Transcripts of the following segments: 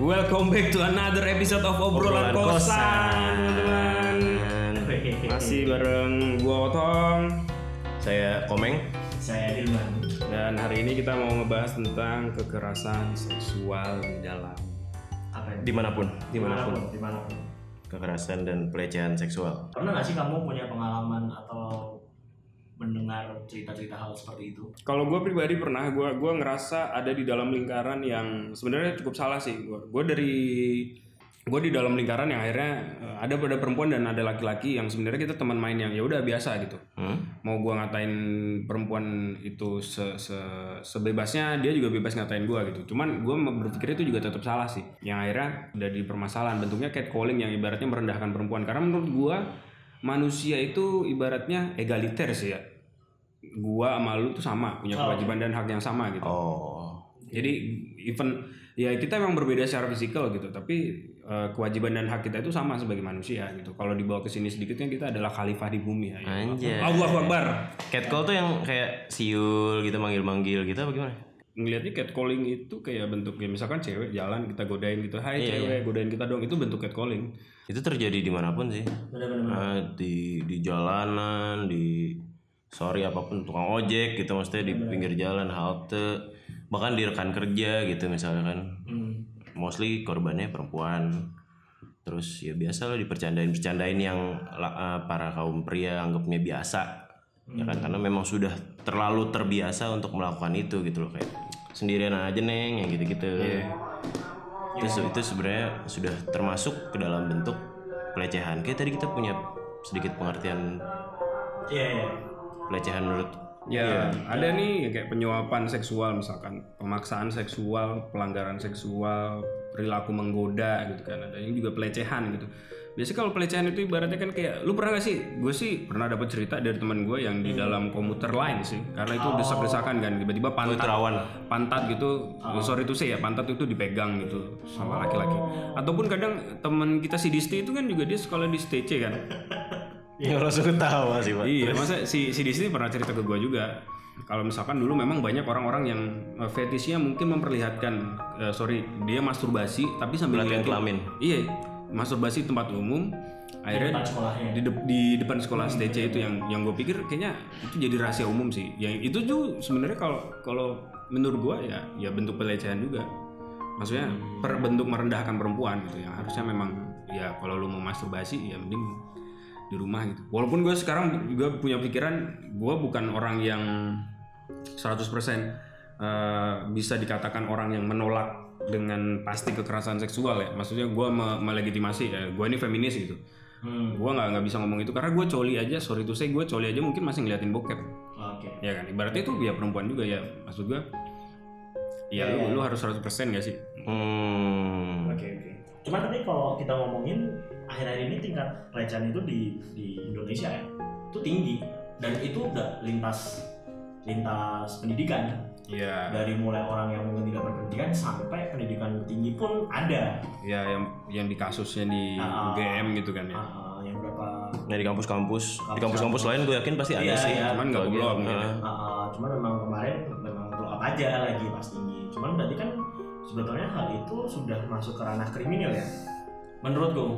Welcome back to another episode of obrolan, Obrolan kosan. Kosan. teman-teman. Masih bareng gua Otong Saya Komeng. Saya Dilman. dan hari ini kita mau ngebahas tentang kekerasan seksual di dalam Apa ya? Dimanapun, dimanapun. Dimanapun. Kekerasan dan pelecehan seksual. Pernah nggak sih kamu punya pengalaman atau mendengar cerita-cerita hal seperti itu? Kalau gue pribadi pernah, gue gua ngerasa ada di dalam lingkaran yang sebenarnya cukup salah sih. Gue gua dari gue di dalam lingkaran yang akhirnya eh, ada pada perempuan dan ada laki-laki yang sebenarnya kita teman main yang ya udah biasa gitu. Hmm? Mau gue ngatain perempuan itu se, se- sebebasnya dia juga bebas ngatain gue gitu. Cuman gue berpikir itu juga tetap salah sih. Yang akhirnya udah di permasalahan bentuknya catcalling yang ibaratnya merendahkan perempuan. Karena menurut gue manusia itu ibaratnya egaliter sih ya gua sama lu tuh sama punya kewajiban dan hak yang sama gitu. Oh. Jadi even ya kita memang berbeda secara fisikal gitu, tapi eh, kewajiban dan hak kita itu sama sebagai manusia gitu. Kalau dibawa ke sini sedikitnya kita adalah khalifah di bumi ya. Anjay. Allahu Akbar. Catcall tuh yang kayak siul gitu manggil-manggil gitu apa gimana? Ngelihatnya catcalling itu kayak bentuk ya misalkan cewek jalan kita godain gitu, "Hai cewek, godain kita dong." Itu bentuk catcalling. Itu terjadi dimanapun sih. Benar-benar. Eh, di di jalanan, di sorry apapun tukang ojek gitu maksudnya di pinggir jalan halte bahkan di rekan kerja gitu misalnya kan Hmm. mostly korbannya perempuan terus ya biasa lo dipercandain bercandain yang la- eh, para kaum pria anggapnya biasa ya kan karena memang sudah terlalu terbiasa untuk melakukan itu gitu loh kayak sendirian aja neng yang gitu gitu terus itu sebenarnya sudah termasuk ke dalam bentuk pelecehan kayak tadi kita punya sedikit pengertian Iya. iya. pelecehan menurut Ya, ada nih kayak penyuapan seksual misalkan, pemaksaan seksual, pelanggaran seksual, perilaku menggoda gitu kan. Ada yang juga pelecehan gitu. Biasanya kalau pelecehan itu ibaratnya kan kayak lu pernah gak sih? Gue sih pernah dapat cerita dari teman gue yang di dalam komuter lain sih. Karena itu desak-desakan kan tiba-tiba pantat terawan pantat gitu sorry tuh sih ya pantat itu dipegang gitu sama laki-laki ataupun kadang teman kita si Disti itu kan juga dia sekolah di STC kan ya langsung ketawa sih pak Iya, masa si si Disney pernah cerita ke gue juga. Kalau misalkan dulu memang banyak orang-orang yang eh, fetishnya mungkin memperlihatkan, eh, sorry, dia masturbasi tapi sambil pelatihan ngeliatin- kelamin Iya, masturbasi di tempat umum. Akhirnya Tempat sekolahnya. di, dep- di depan sekolah STC itu yang yang gue pikir kayaknya itu jadi rahasia umum sih. Yang itu juga sebenarnya kalau kalau menurut gue ya ya bentuk pelecehan juga. Ya, Maksudnya per bentuk merendahkan perempuan gitu yang harusnya memang ya kalau lu mau masturbasi ya mending di rumah gitu. Walaupun gue sekarang juga punya pikiran gue bukan orang yang 100% eh, bisa dikatakan orang yang menolak dengan pasti kekerasan seksual ya. Maksudnya gue me- melegitimasi ya, gue ini feminis gitu Hmm. gue nggak nggak bisa ngomong itu karena gue coli aja sorry tuh saya gue coli aja mungkin masih ngeliatin bokep Oke. ya kan ibaratnya itu ya perempuan juga ya maksud gue ya lu, lu harus 100% gak sih hmm. Oke oke. Cuman tapi kalau kita ngomongin akhir-akhir ini tingkat pelecehan itu di di Indonesia ya itu tinggi dan itu udah lintas lintas pendidikan ya dari mulai orang yang mungkin tidak berpendidikan sampai pendidikan tinggi pun ada ya yang yang di kasusnya di Ah. UGM gitu kan ya Ah, yang berapa Nah di kampus-kampus, di kampus-kampus lain gue yakin pasti ada Iya, sih. iya. Cuman nggak Kalau blog, gitu, ya. heeh. Uh, cuman memang kemarin memang blow up aja lagi pas tinggi cuman berarti kan sebetulnya hal itu sudah masuk ke ranah kriminal ya menurut gue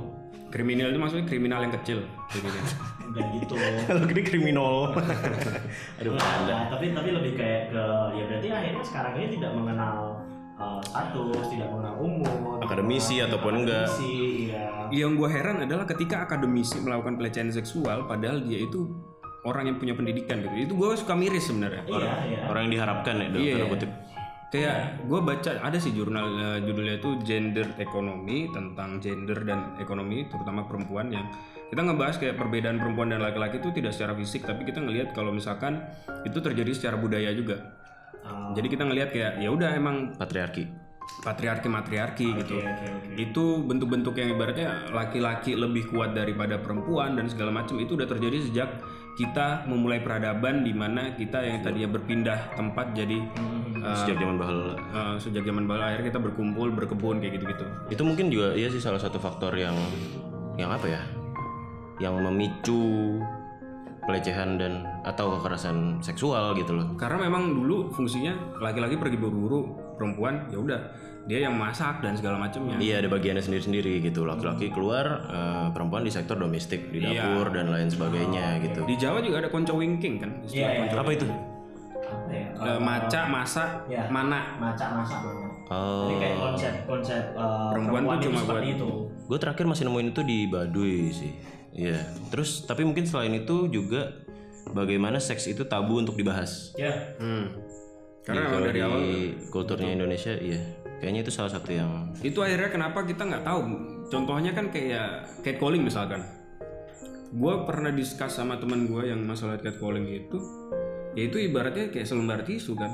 kriminal itu maksudnya kriminal yang kecil gitu kan. bukan gitu Kalau gini kriminal. Aduh, Nggak, nggak, tapi tapi lebih kayak ke ya berarti akhirnya sekarang ini tidak mengenal uh, status tidak mengenal umur Akademisi tidak mengenal ataupun enggak. akademisi, ya. yang gue heran adalah ketika akademisi melakukan pelecehan seksual padahal dia itu orang yang punya pendidikan gitu itu gue suka miris sebenarnya iya iya Orang yang diharapkan ya, dalam Iya. tanda kutip. Kayak gue baca ada sih jurnal eh, judulnya itu gender ekonomi tentang gender dan ekonomi terutama perempuan yang kita ngebahas kayak perbedaan perempuan dan laki-laki itu tidak secara fisik tapi kita ngelihat kalau misalkan itu terjadi secara budaya juga. Uh, Jadi kita ngelihat kayak ya udah emang Patriarki. patriarki matriarki gitu. oke, oke, oke. Itu bentuk-bentuk yang ibaratnya laki-laki lebih kuat daripada perempuan dan segala macam itu udah terjadi sejak kita memulai peradaban di mana kita yang tadinya berpindah tempat jadi Eh. Sejak zaman bahula. Uh, sejak zaman bala akhirnya kita berkumpul berkebun kayak gitu-gitu Itu mungkin juga iya sih salah satu faktor yang yang apa ya? Yang memicu pelecehan dan atau kekerasan seksual gitu loh. karena memang dulu fungsinya laki-laki pergi berburu perempuan ya udah dia yang masak dan segala macamnya Iya ada bagiannya sendiri-sendiri gitu laki-laki keluar eh, perempuan di sektor domestik di Iya. dapur dan lain sebagainya gitu. di Jawa juga ada konco wingking kan istilah Iya, iya. konco Apa itu? apa ya? Eh, maca masak Iya. mana maca masak namanya. Oh, Jadi kayak konsep-konsep uh, Perempuan tuh cuma seperti buat- itu. gue terakhir masih nemuin itu di Baduy sih. Iya. Terus tapi mungkin selain itu juga bagaimana seks itu tabu untuk dibahas. Ya, Hmm. karena Jadi emang kalau dari di awal kan? kulturnya Indonesia, iya. Kayaknya itu salah satu yang itu akhirnya kenapa kita nggak tahu contohnya kan kayak catcalling misalkan gue pernah diskus sama teman gue yang masalah catcalling itu yaitu ibaratnya kayak selembar tisu kan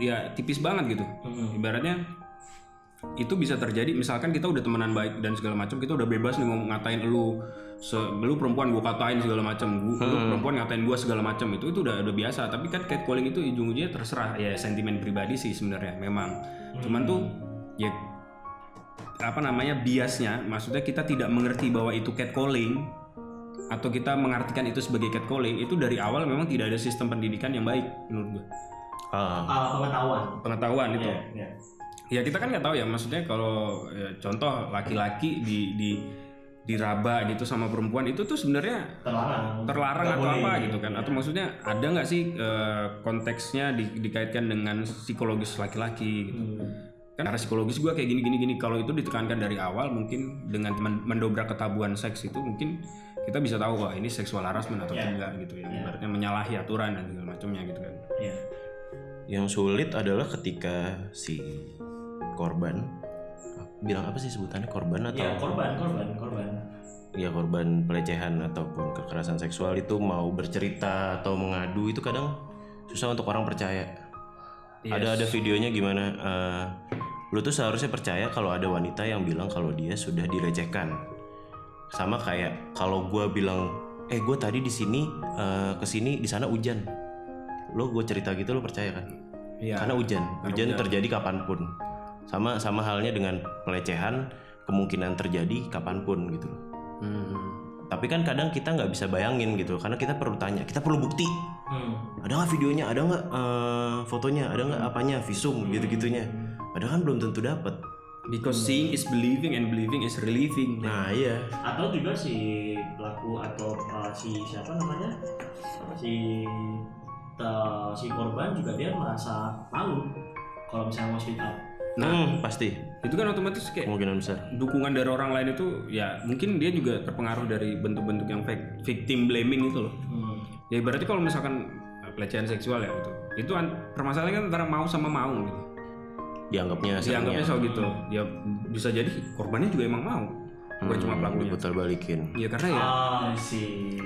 ya tipis banget gitu Hmm. ibaratnya itu bisa terjadi misalkan kita udah temenan baik dan segala macam kita udah bebas nih ngomong ngatain lu se lu perempuan gue katain segala macam Gua- lu perempuan ngatain gue segala macam itu itu udah udah biasa tapi kan catcalling itu ujung-ujungnya terserah ya sentimen pribadi sih sebenarnya memang cuman tuh ya apa namanya biasnya maksudnya kita tidak mengerti bahwa itu catcalling atau kita mengartikan itu sebagai catcalling itu dari awal memang tidak ada sistem pendidikan yang baik menurut gue ah, uh, pengetahuan. pengetahuan itu Iya, iya. ya kita kan nggak tahu ya maksudnya kalau ya, contoh laki-laki di di diraba gitu sama perempuan itu tuh sebenarnya Terlarang. terlarang Nggak atau boleh. apa gitu kan atau maksudnya ada nggak sih eh, konteksnya di- dikaitkan dengan psikologis laki-laki gitu Hmm. kan arah psikologis gue kayak gini gini gini kalau itu ditekankan dari awal mungkin dengan men- mendobrak ketabuhan seks itu mungkin kita bisa tahu wah ini seksual harassment atau Ya. tidak gitu ya Ya. ibaratnya menyalahi aturan dan segala macamnya gitu kan Iya. yang sulit adalah ketika si korban bilang apa sih sebutannya korban atau Iya, korban, korban, korban. ya korban pelecehan ataupun kekerasan seksual itu mau bercerita atau mengadu itu kadang susah untuk orang percaya. Ada ada videonya gimana eh, lu tuh seharusnya percaya kalau ada wanita yang bilang kalau dia sudah dilecehkan. Sama kayak kalau gua bilang eh gua tadi di sini eh, ke sini di sana hujan. Lo gue cerita gitu lo percaya kan? Iya. Karena hujan, hujan hujan. terjadi kapanpun. Sama sama halnya dengan pelecehan kemungkinan terjadi kapanpun gitu loh. Hmm. Tapi kan kadang kita nggak bisa bayangin gitu, karena kita perlu tanya, kita perlu bukti. Hmm. Ada nggak videonya, ada nggak eh, fotonya, ada nggak apanya, visum Hmm. gitu-gitunya. Padahal kan belum tentu dapat. Because seeing is believing and believing is relieving. Nah iya, Atau juga si pelaku atau uh, si siapa namanya? Si te- si korban juga dia merasa malu kalau misalnya mau speak up. Nah, Hmm, pasti itu kan otomatis kayak kemungkinan besar. dukungan dari orang lain itu ya mungkin dia juga terpengaruh dari bentuk-bentuk yang fake, victim blaming itu loh. Hmm. Ya berarti kalau misalkan eh, pelecehan seksual ya itu, itu an- permasalahannya kan antara mau sama mau gitu. Dianggapnya Dianggapnya seringnya soal gitu. Ya bisa jadi korbannya juga emang mau, bukan cuma Hmm, pelakunya. diputar balikin. Ya karena ya Ah, si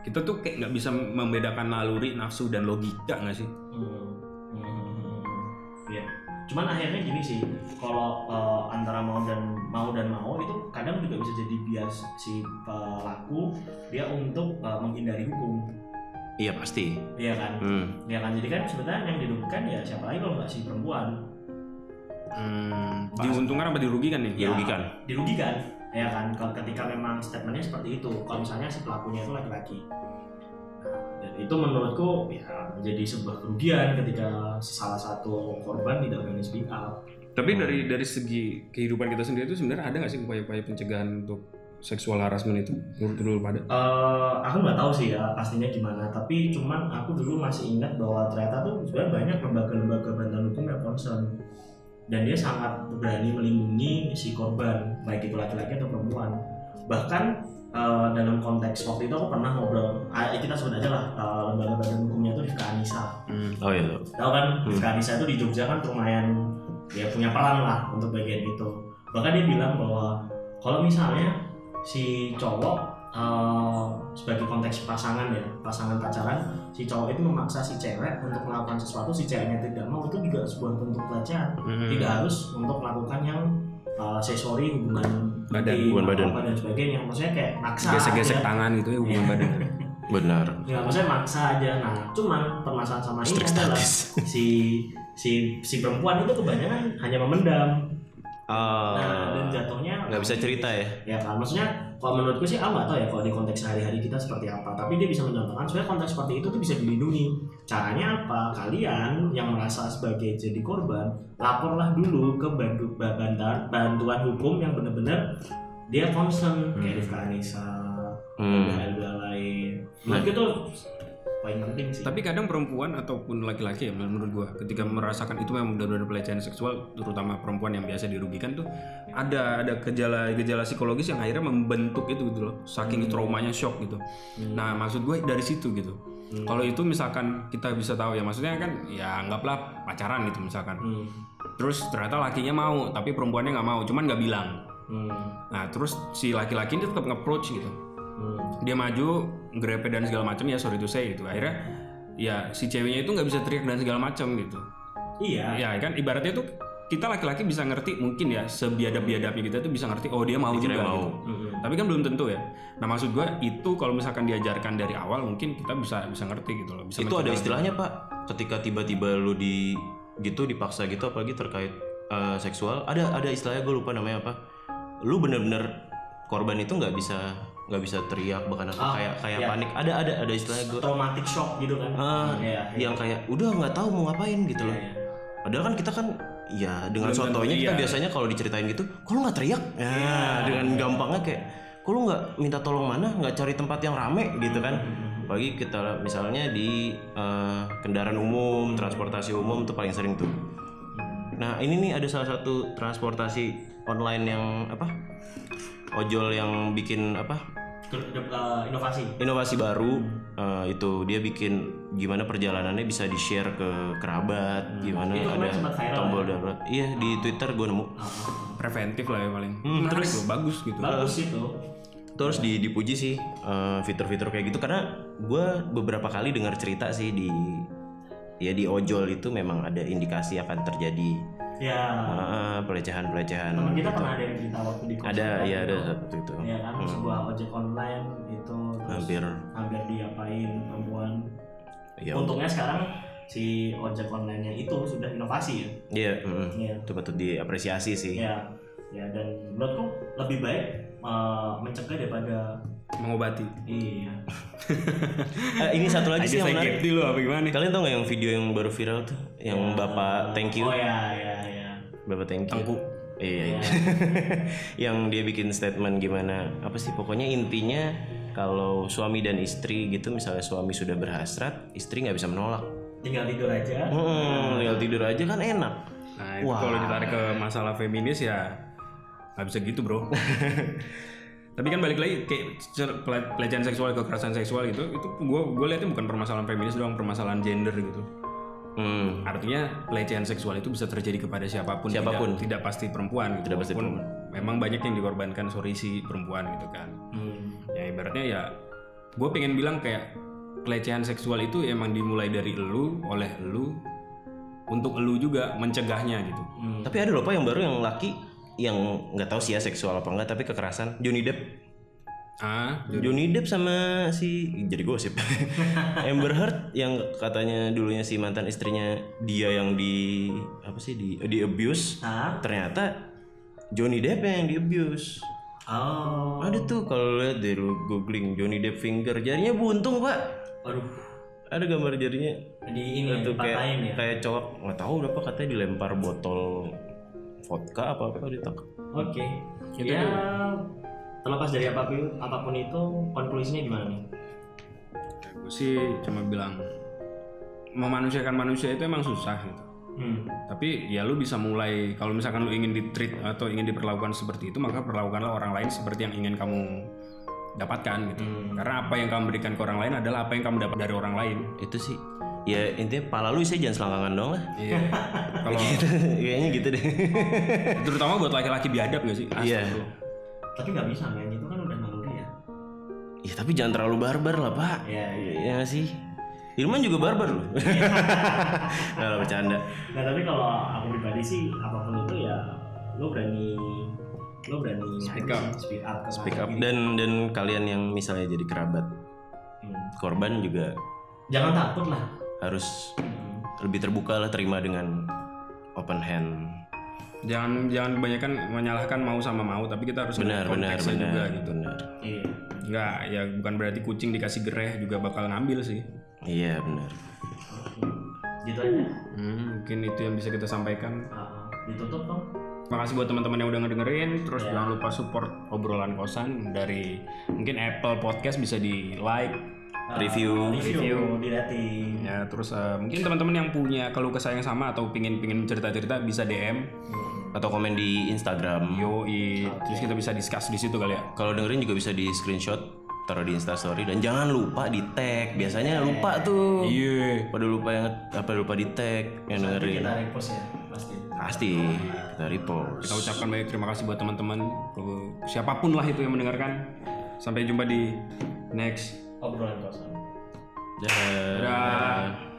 kita tuh kayak nggak bisa membedakan naluri, nafsu dan logika nggak sih? Hmm, Iya. Cuman akhirnya gini sih, kalau eh, antara mau dan mau dan mau itu kadang juga bisa jadi bias si pelaku dia untuk eh, menghindari hukum, Iya pasti. iya kan? Hmm. Iya kan? Jadi kan sebenarnya yang dirugikan ya siapa lagi kalau nggak si perempuan Hmm, diuntungkan apa dirugikan nih? Ya. Dirugikan. dirugikan, ya kan? Kalau ketika memang statementnya seperti itu, kalau misalnya si pelakunya itu laki-laki, Nah, dan itu menurutku ya menjadi sebuah kerugian ketika salah satu korban tidak berani ah, speak up. Tapi dari dari segi kehidupan kita sendiri itu sebenarnya ada nggak sih upaya-upaya pencegahan untuk seksual harassment itu menurut dulu pada? Eh, aku nggak tahu sih ya pastinya gimana tapi cuman aku dulu masih ingat bahwa ternyata tuh sebenarnya banyak lembaga-lembaga bantuan hukum yang concern dan dia sangat berani melindungi si korban baik itu laki-laki atau perempuan bahkan eh, dalam konteks waktu itu aku pernah ngobrol ah, kita sebut aja lah eh, lembaga bantuan hukumnya itu Rifka Anissa Oh iya. tuh. tahu kan Hmm. Rifka Anissa itu di Jogja kan lumayan dia punya peran lah untuk bagian itu bahkan dia bilang bahwa kalau misalnya si cowok eh, sebagai konteks pasangan ya pasangan pacaran si cowok itu memaksa si cewek untuk melakukan sesuatu si ceweknya tidak mau itu juga sebuah bentuk pelecehan Hmm. Hmm. tidak harus untuk melakukan yang eh, aksesori hubungan Badan, intim, hubungan badan. apa dan sebagainya maksudnya kayak maksa Gesek-gesek aja. tangan gitu ya hubungan Iya. badan. Nah, Benar. Ya, maksudnya maksa aja. Nah, cuman permasalahan sama iya, ini Strik adalah status. si si si perempuan itu kebanyakan hanya memendam nah Ah, dan jatuhnya nggak bisa cerita ya ya kan maksudnya kalau menurutku sih aku nggak tahu ya kalau di konteks sehari-hari kita seperti apa tapi dia bisa mencontohkan sebenarnya konteks seperti itu tuh bisa dilindungi caranya apa kalian yang merasa sebagai jadi korban laporlah dulu ke bantu- ba- bandar- bantuan hukum yang benar-benar dia concern kayak Rifka Anissa Hmm. dan lain-lain menurutku itu paling penting sih Tapi kadang perempuan ataupun laki-laki ya menurut gua ketika merasakan itu memang benar-benar pelecehan seksual terutama perempuan yang biasa dirugikan tuh ada ada gejala-gejala psikologis yang akhirnya membentuk itu gitu loh saking traumanya shock gitu. Hmm. Nah maksud gue dari situ gitu. Hmm. Kalau itu misalkan kita bisa tahu ya maksudnya kan ya anggaplah pacaran gitu misalkan. Hmm. Terus ternyata lakinya mau tapi perempuannya nggak mau cuman nggak bilang. Hmm. Nah terus si laki-laki ini tetap nge-approach gitu Hmm. dia maju grepe dan segala macam ya sorry to say gitu akhirnya ya si ceweknya itu nggak bisa teriak dan segala macam gitu iya ya kan ibaratnya tuh kita laki-laki bisa ngerti mungkin ya sebiadab-biadabnya kita tuh bisa ngerti oh dia mau Kira juga mau gitu. Hmm. tapi kan belum tentu ya nah maksud gua itu kalau misalkan diajarkan dari awal mungkin kita bisa bisa ngerti gitu loh bisa itu ada mencegah. istilahnya pak ketika tiba-tiba lu di gitu dipaksa gitu apalagi terkait eh, seksual ada ada istilahnya gue lupa namanya apa lu bener-bener korban itu nggak bisa nggak bisa teriak bahkan apa Ah, kayak kayak iya. panik ada ada ada istilahnya gue traumatic shock gitu kan Ah, Iya, iya. yang kayak udah nggak tahu mau ngapain gitu Iya, loh iya. padahal kan kita kan ya dengan Belum tentu, sotonya kita iya. biasanya kalau diceritain gitu kok lu nggak teriak ya dengan gampangnya kayak kok lu nggak minta tolong mana nggak cari tempat yang rame gitu kan bagi kita misalnya di eh, kendaraan umum transportasi umum tuh paling sering tuh nah ini nih ada salah satu transportasi online yang apa ojol yang bikin apa Ke- ke- eh, inovasi inovasi baru eh, itu dia bikin gimana perjalanannya bisa di share ke kerabat gimana Hmm. Itu kemarin ada sempat viral tombol ya? darurat iya di twitter gue nemu preventif lah ya paling Hmm, terus bagus gitu bagus itu terus di- dipuji sih eh, fitur-fitur kayak gitu karena gue beberapa kali dengar cerita sih di ya di ojol itu memang ada indikasi akan terjadi ya eh, pelecehan-pelecehan gitu. teman kita pernah ada yang cerita waktu di ada konser ya ada waktu satu itu itu. ya kan sebuah ojek online itu terus hampir hampir diapain perempuan ya untungnya sekarang si ojek online nya itu sudah inovasi ya iya mm, ya itu patut diapresiasi sih ya, ya dan menurutku lebih baik eh, mencegah daripada mengobati iya Eh, ini satu lagi sih yang menarik sakit dulu apa gimana Kalian tau gak yang video yang baru viral tuh? Yang bapak thank you, oh ya ya ya bapak thank you. Tengku. Iya, iya. yang dia bikin statement gimana? Apa sih? Pokoknya intinya kalau suami dan istri gitu, misalnya suami sudah berhasrat, istri nggak bisa menolak. tinggal tidur aja Hmm, tinggal tidur aja kan enak. nah itu Wah. kalau ditarik ke masalah feminis ya nggak bisa gitu bro tapi kan balik lagi kayak cer- pele- pelecehan seksual kekerasan seksual gitu itu gue gue lihatnya bukan permasalahan feminis doang permasalahan gender gitu Hmm, artinya pelecehan seksual itu bisa terjadi kepada siapapun tidak- Siapapun. tidak, pasti perempuan gitu Tidak pasti Walaupun memang banyak yang dikorbankan sorry si perempuan gitu kan Hmm. ya ibaratnya ya gue pengen bilang kayak pelecehan seksual itu emang dimulai dari elu oleh elu untuk elu juga mencegahnya gitu Hmm. tapi ada lupa yang baru yang laki yang nggak tahu sih ya seksual apa enggak tapi kekerasan Johnny Depp ah Johnny Depp sama si jadi gosip Amber Heard yang katanya dulunya si mantan istrinya dia yang di apa sih di di abuse Hah? ternyata Johnny Depp yang di abuse Oh, ada tuh kalau lihat deh lu googling Johnny Depp finger jarinya buntung pak aduh, ada gambar jarinya di ini ya, tuh dipatahin ya. kayak kayak cowok nggak tahu berapa katanya dilempar botol vodka apa apa ditangkap Oke. Itu Ya, terlepas dari apapun, apapun itu, konklusinya gimana nih? Gue Ya, sih cuma bilang memanusiakan manusia itu emang susah gitu. Hmm. Tapi ya lu bisa mulai kalau misalkan lu ingin ditreat atau ingin diperlakukan seperti itu maka perlakukanlah orang lain seperti yang ingin kamu dapatkan gitu. Hmm. Karena apa yang kamu berikan ke orang lain adalah apa yang kamu dapat dari orang lain. itu sih ya intinya pala lu isinya jangan selangkangan dong lah Iya. kalau kayaknya gitu deh terutama buat laki-laki biadab gak sih? Iya. Astagfirullah. Tapi nggak bisa, men. Itu kan udah naluri ya. Ya tapi jangan terlalu barbar lah pak Iya, iya. Ya nggak sih Irman juga barbar loh Nggak lah bercanda Nah, tapi kalau aku pribadi sih, apapun itu ya, lo berani, lo berani Speak apa up. sih? speak up, Speak up Dan dan kalian yang misalnya jadi kerabat Hmm. Korban juga Jangan takut lah. harus Hmm. lebih terbuka lah terima dengan open hand jangan jangan kebanyakan menyalahkan mau sama mau tapi kita harus benar ngeliat benar konteksnya benar juga gitu benar Iya. nggak ya bukan berarti kucing dikasih gereh juga bakal ngambil sih iya benar Oke. Gitu aja. Hmm, mungkin itu yang bisa kita sampaikan Ah, ditutup dong. makasih buat teman-teman yang udah ngedengerin terus Ya. jangan lupa support obrolan kosan dari mungkin Apple Podcast bisa di like Ah, Review. Review. Review. Di rating. ya terus eh, mungkin teman-teman yang punya keluh kesah yang sama atau pingin pingin cerita-cerita bisa DM Hmm. atau komen di Instagram yoi terus kita bisa discuss di situ kali ya kalau dengerin juga bisa di screenshot taruh di Instastory dan jangan lupa di tag biasanya lupa tuh iya pada lupa yang apa lupa di tag yang Nanti dengerin kita repost ya pasti. pasti kita repost kita ucapkan banyak terima kasih buat teman-teman Kalau siapapun lah itu yang mendengarkan sampai jumpa di next Obrolan kosong. Dadah. Dadah.